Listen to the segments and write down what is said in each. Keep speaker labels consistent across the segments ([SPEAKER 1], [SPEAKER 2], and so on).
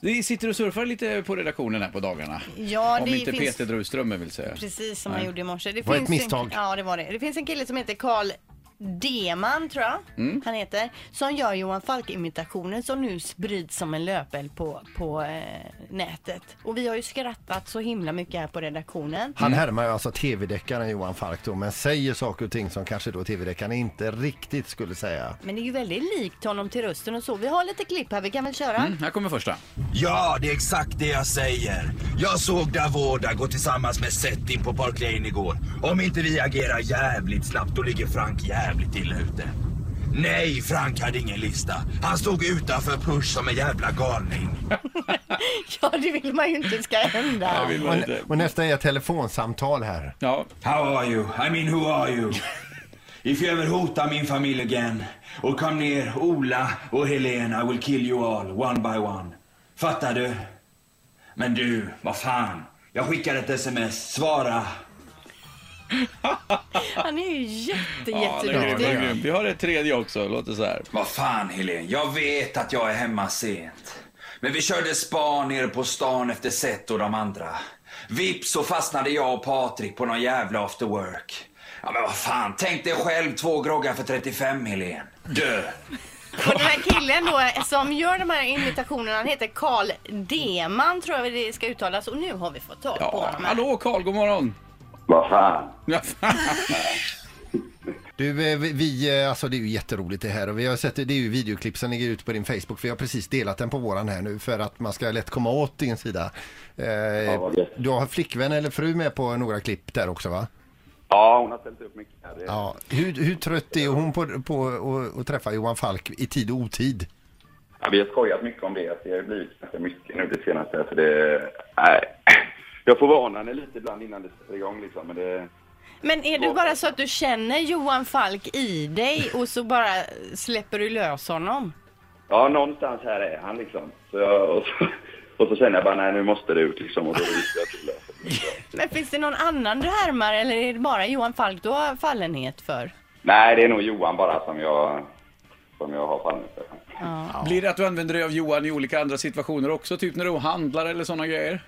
[SPEAKER 1] Ni sitter och surfar lite på redaktionen här på dagarna.
[SPEAKER 2] Ja,
[SPEAKER 1] Om
[SPEAKER 2] det
[SPEAKER 1] inte
[SPEAKER 2] finns-
[SPEAKER 1] Peter drar ut strömmen vill säga.
[SPEAKER 2] Precis som
[SPEAKER 1] Nej.
[SPEAKER 2] man gjorde i morse. Det
[SPEAKER 3] Var ett
[SPEAKER 2] En,
[SPEAKER 3] misstag.
[SPEAKER 2] ja, det var det. Det finns en kille som heter Karl Deman, tror jag
[SPEAKER 1] Mm.
[SPEAKER 2] han heter, som gör Johan Falk-imitationen som nu sprids som en löpeld på, på eh, nätet. Och vi har ju skrattat så himla mycket här på redaktionen.
[SPEAKER 3] Han härmar ju alltså tv-deckaren Johan Falk då, men säger saker och ting som kanske då tv-deckaren inte riktigt skulle säga.
[SPEAKER 2] Men det är ju väldigt likt honom till rösten och så. Vi har lite klipp här, vi kan väl köra?
[SPEAKER 1] Mm, här kommer första.
[SPEAKER 4] Ja, det är exakt det jag säger. Jag såg Davoda gå tillsammans med Settin på Park Lane igår. Om inte vi agerar jävligt snabbt då ligger Frank jävligt illa ute. Nej, Frank hade ingen lista. Han stod utanför Push som en jävla galning.
[SPEAKER 2] Ja, det vill man ju inte ska hända.
[SPEAKER 1] vill
[SPEAKER 3] Och, nä- och nästa är ett telefonsamtal här.
[SPEAKER 1] Ja,
[SPEAKER 4] How are you? I mean, who are you? If you ever hota min familj again, och kom ner, Ola och Helena I will kill you all, one by one. Fattar du? Men du, vad fan. Jag skickar ett sms, svara.
[SPEAKER 2] Han är ju jätte,
[SPEAKER 1] ja det är grymt, det
[SPEAKER 2] jätteduktig.
[SPEAKER 1] är grymt. Vi har ett tredje också, låter så här.
[SPEAKER 4] Vad fan Helen, jag vet att jag är hemma sent. Men vi körde spa nere på stan efter Seth och de andra. Vips så fastnade jag och Patrik på någon jävla after work. Ja men vad fan, tänk dig själv två groggar för 35 Helen. Dö!
[SPEAKER 2] Och den här killen då som gör de här imitationerna, han heter Karl Deman tror jag det ska uttalas och nu har vi fått tag på
[SPEAKER 1] Ja,
[SPEAKER 2] honom. här.
[SPEAKER 1] hallå Karl, god morgon.
[SPEAKER 5] Vad fan?
[SPEAKER 1] Ja, fan.
[SPEAKER 3] Du, eh, vi- vi, eh, alltså det är ju jätteroligt det här och vi har sett, det det är ju videoklipp som ligger ute på din Facebook. Vi har precis delat den på våran här nu för att man ska lätt komma åt din sida. Eh,
[SPEAKER 5] vad gött.
[SPEAKER 3] du har flickvän eller fru med på några klipp där också va?
[SPEAKER 5] Ja, hon har ställt upp mycket här. Det-
[SPEAKER 3] Ja. Hur, hur trött är hon på, på att- att träffa Johan Falk i tid och otid?
[SPEAKER 5] Ja, vi har skojat mycket om det. Det har ju blivit ganska mycket nu det senaste. Så det, nej. Jag får varna henne lite ibland innan det sätter igång liksom. Men det,
[SPEAKER 2] Men är det bara så att du känner Johan Falk i dig och så bara släpper du lös honom?
[SPEAKER 5] ja, någonstans här är han liksom. Så jag, och, så, och så känner jag bara nej, nu måste det ut liksom. Och då visste jag att det löser sig.
[SPEAKER 2] Men finns det någon annan du härmar eller är det bara Johan Falk du har fallenhet för?
[SPEAKER 5] Nej, det är nog Johan bara som jag, som jag har fallit för.
[SPEAKER 1] Blir det att du använder dig av Johan i olika andra situationer också? Typ när du handlar eller sådana grejer?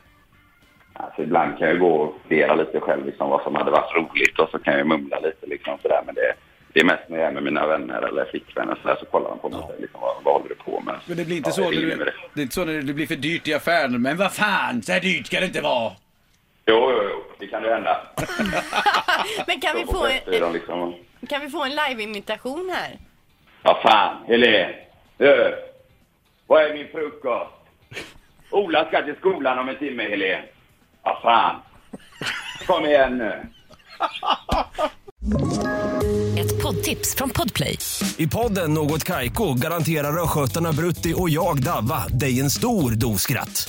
[SPEAKER 5] Alltså, ibland kan jag gå och fundera lite själv liksom, vad som hade varit roligt och så kan jag mumla lite liksom sådär. Men det, det är mest när jag är med mina vänner eller flickvänner så, så kollar de på mig och säger liksom, vad, vad håller du på med?
[SPEAKER 1] Men det blir inte
[SPEAKER 5] Ja,
[SPEAKER 1] så
[SPEAKER 5] jag
[SPEAKER 1] när
[SPEAKER 5] är inne med
[SPEAKER 1] du,
[SPEAKER 5] det.
[SPEAKER 1] det är inte så när det blir för dyrt i affären. Men vad fan, så här dyrt ska det inte vara.
[SPEAKER 5] Jo, jo, jo, det kan ju hända.
[SPEAKER 2] Men kan vi
[SPEAKER 5] De får
[SPEAKER 2] få
[SPEAKER 5] fester, de
[SPEAKER 2] en,
[SPEAKER 5] liksom.
[SPEAKER 2] kan vi få en live-imitation här?
[SPEAKER 5] Ja, fan, Helene. Du, vad är min frukost? Ola ska till skolan om en timme, Helene. Ja, fan. Kom igen nu.
[SPEAKER 6] Ett poddtips från Podplay.
[SPEAKER 7] I podden Något Kaiko garanterar östgötarna Brutti och jag, Davva, dig en stor dos skratt.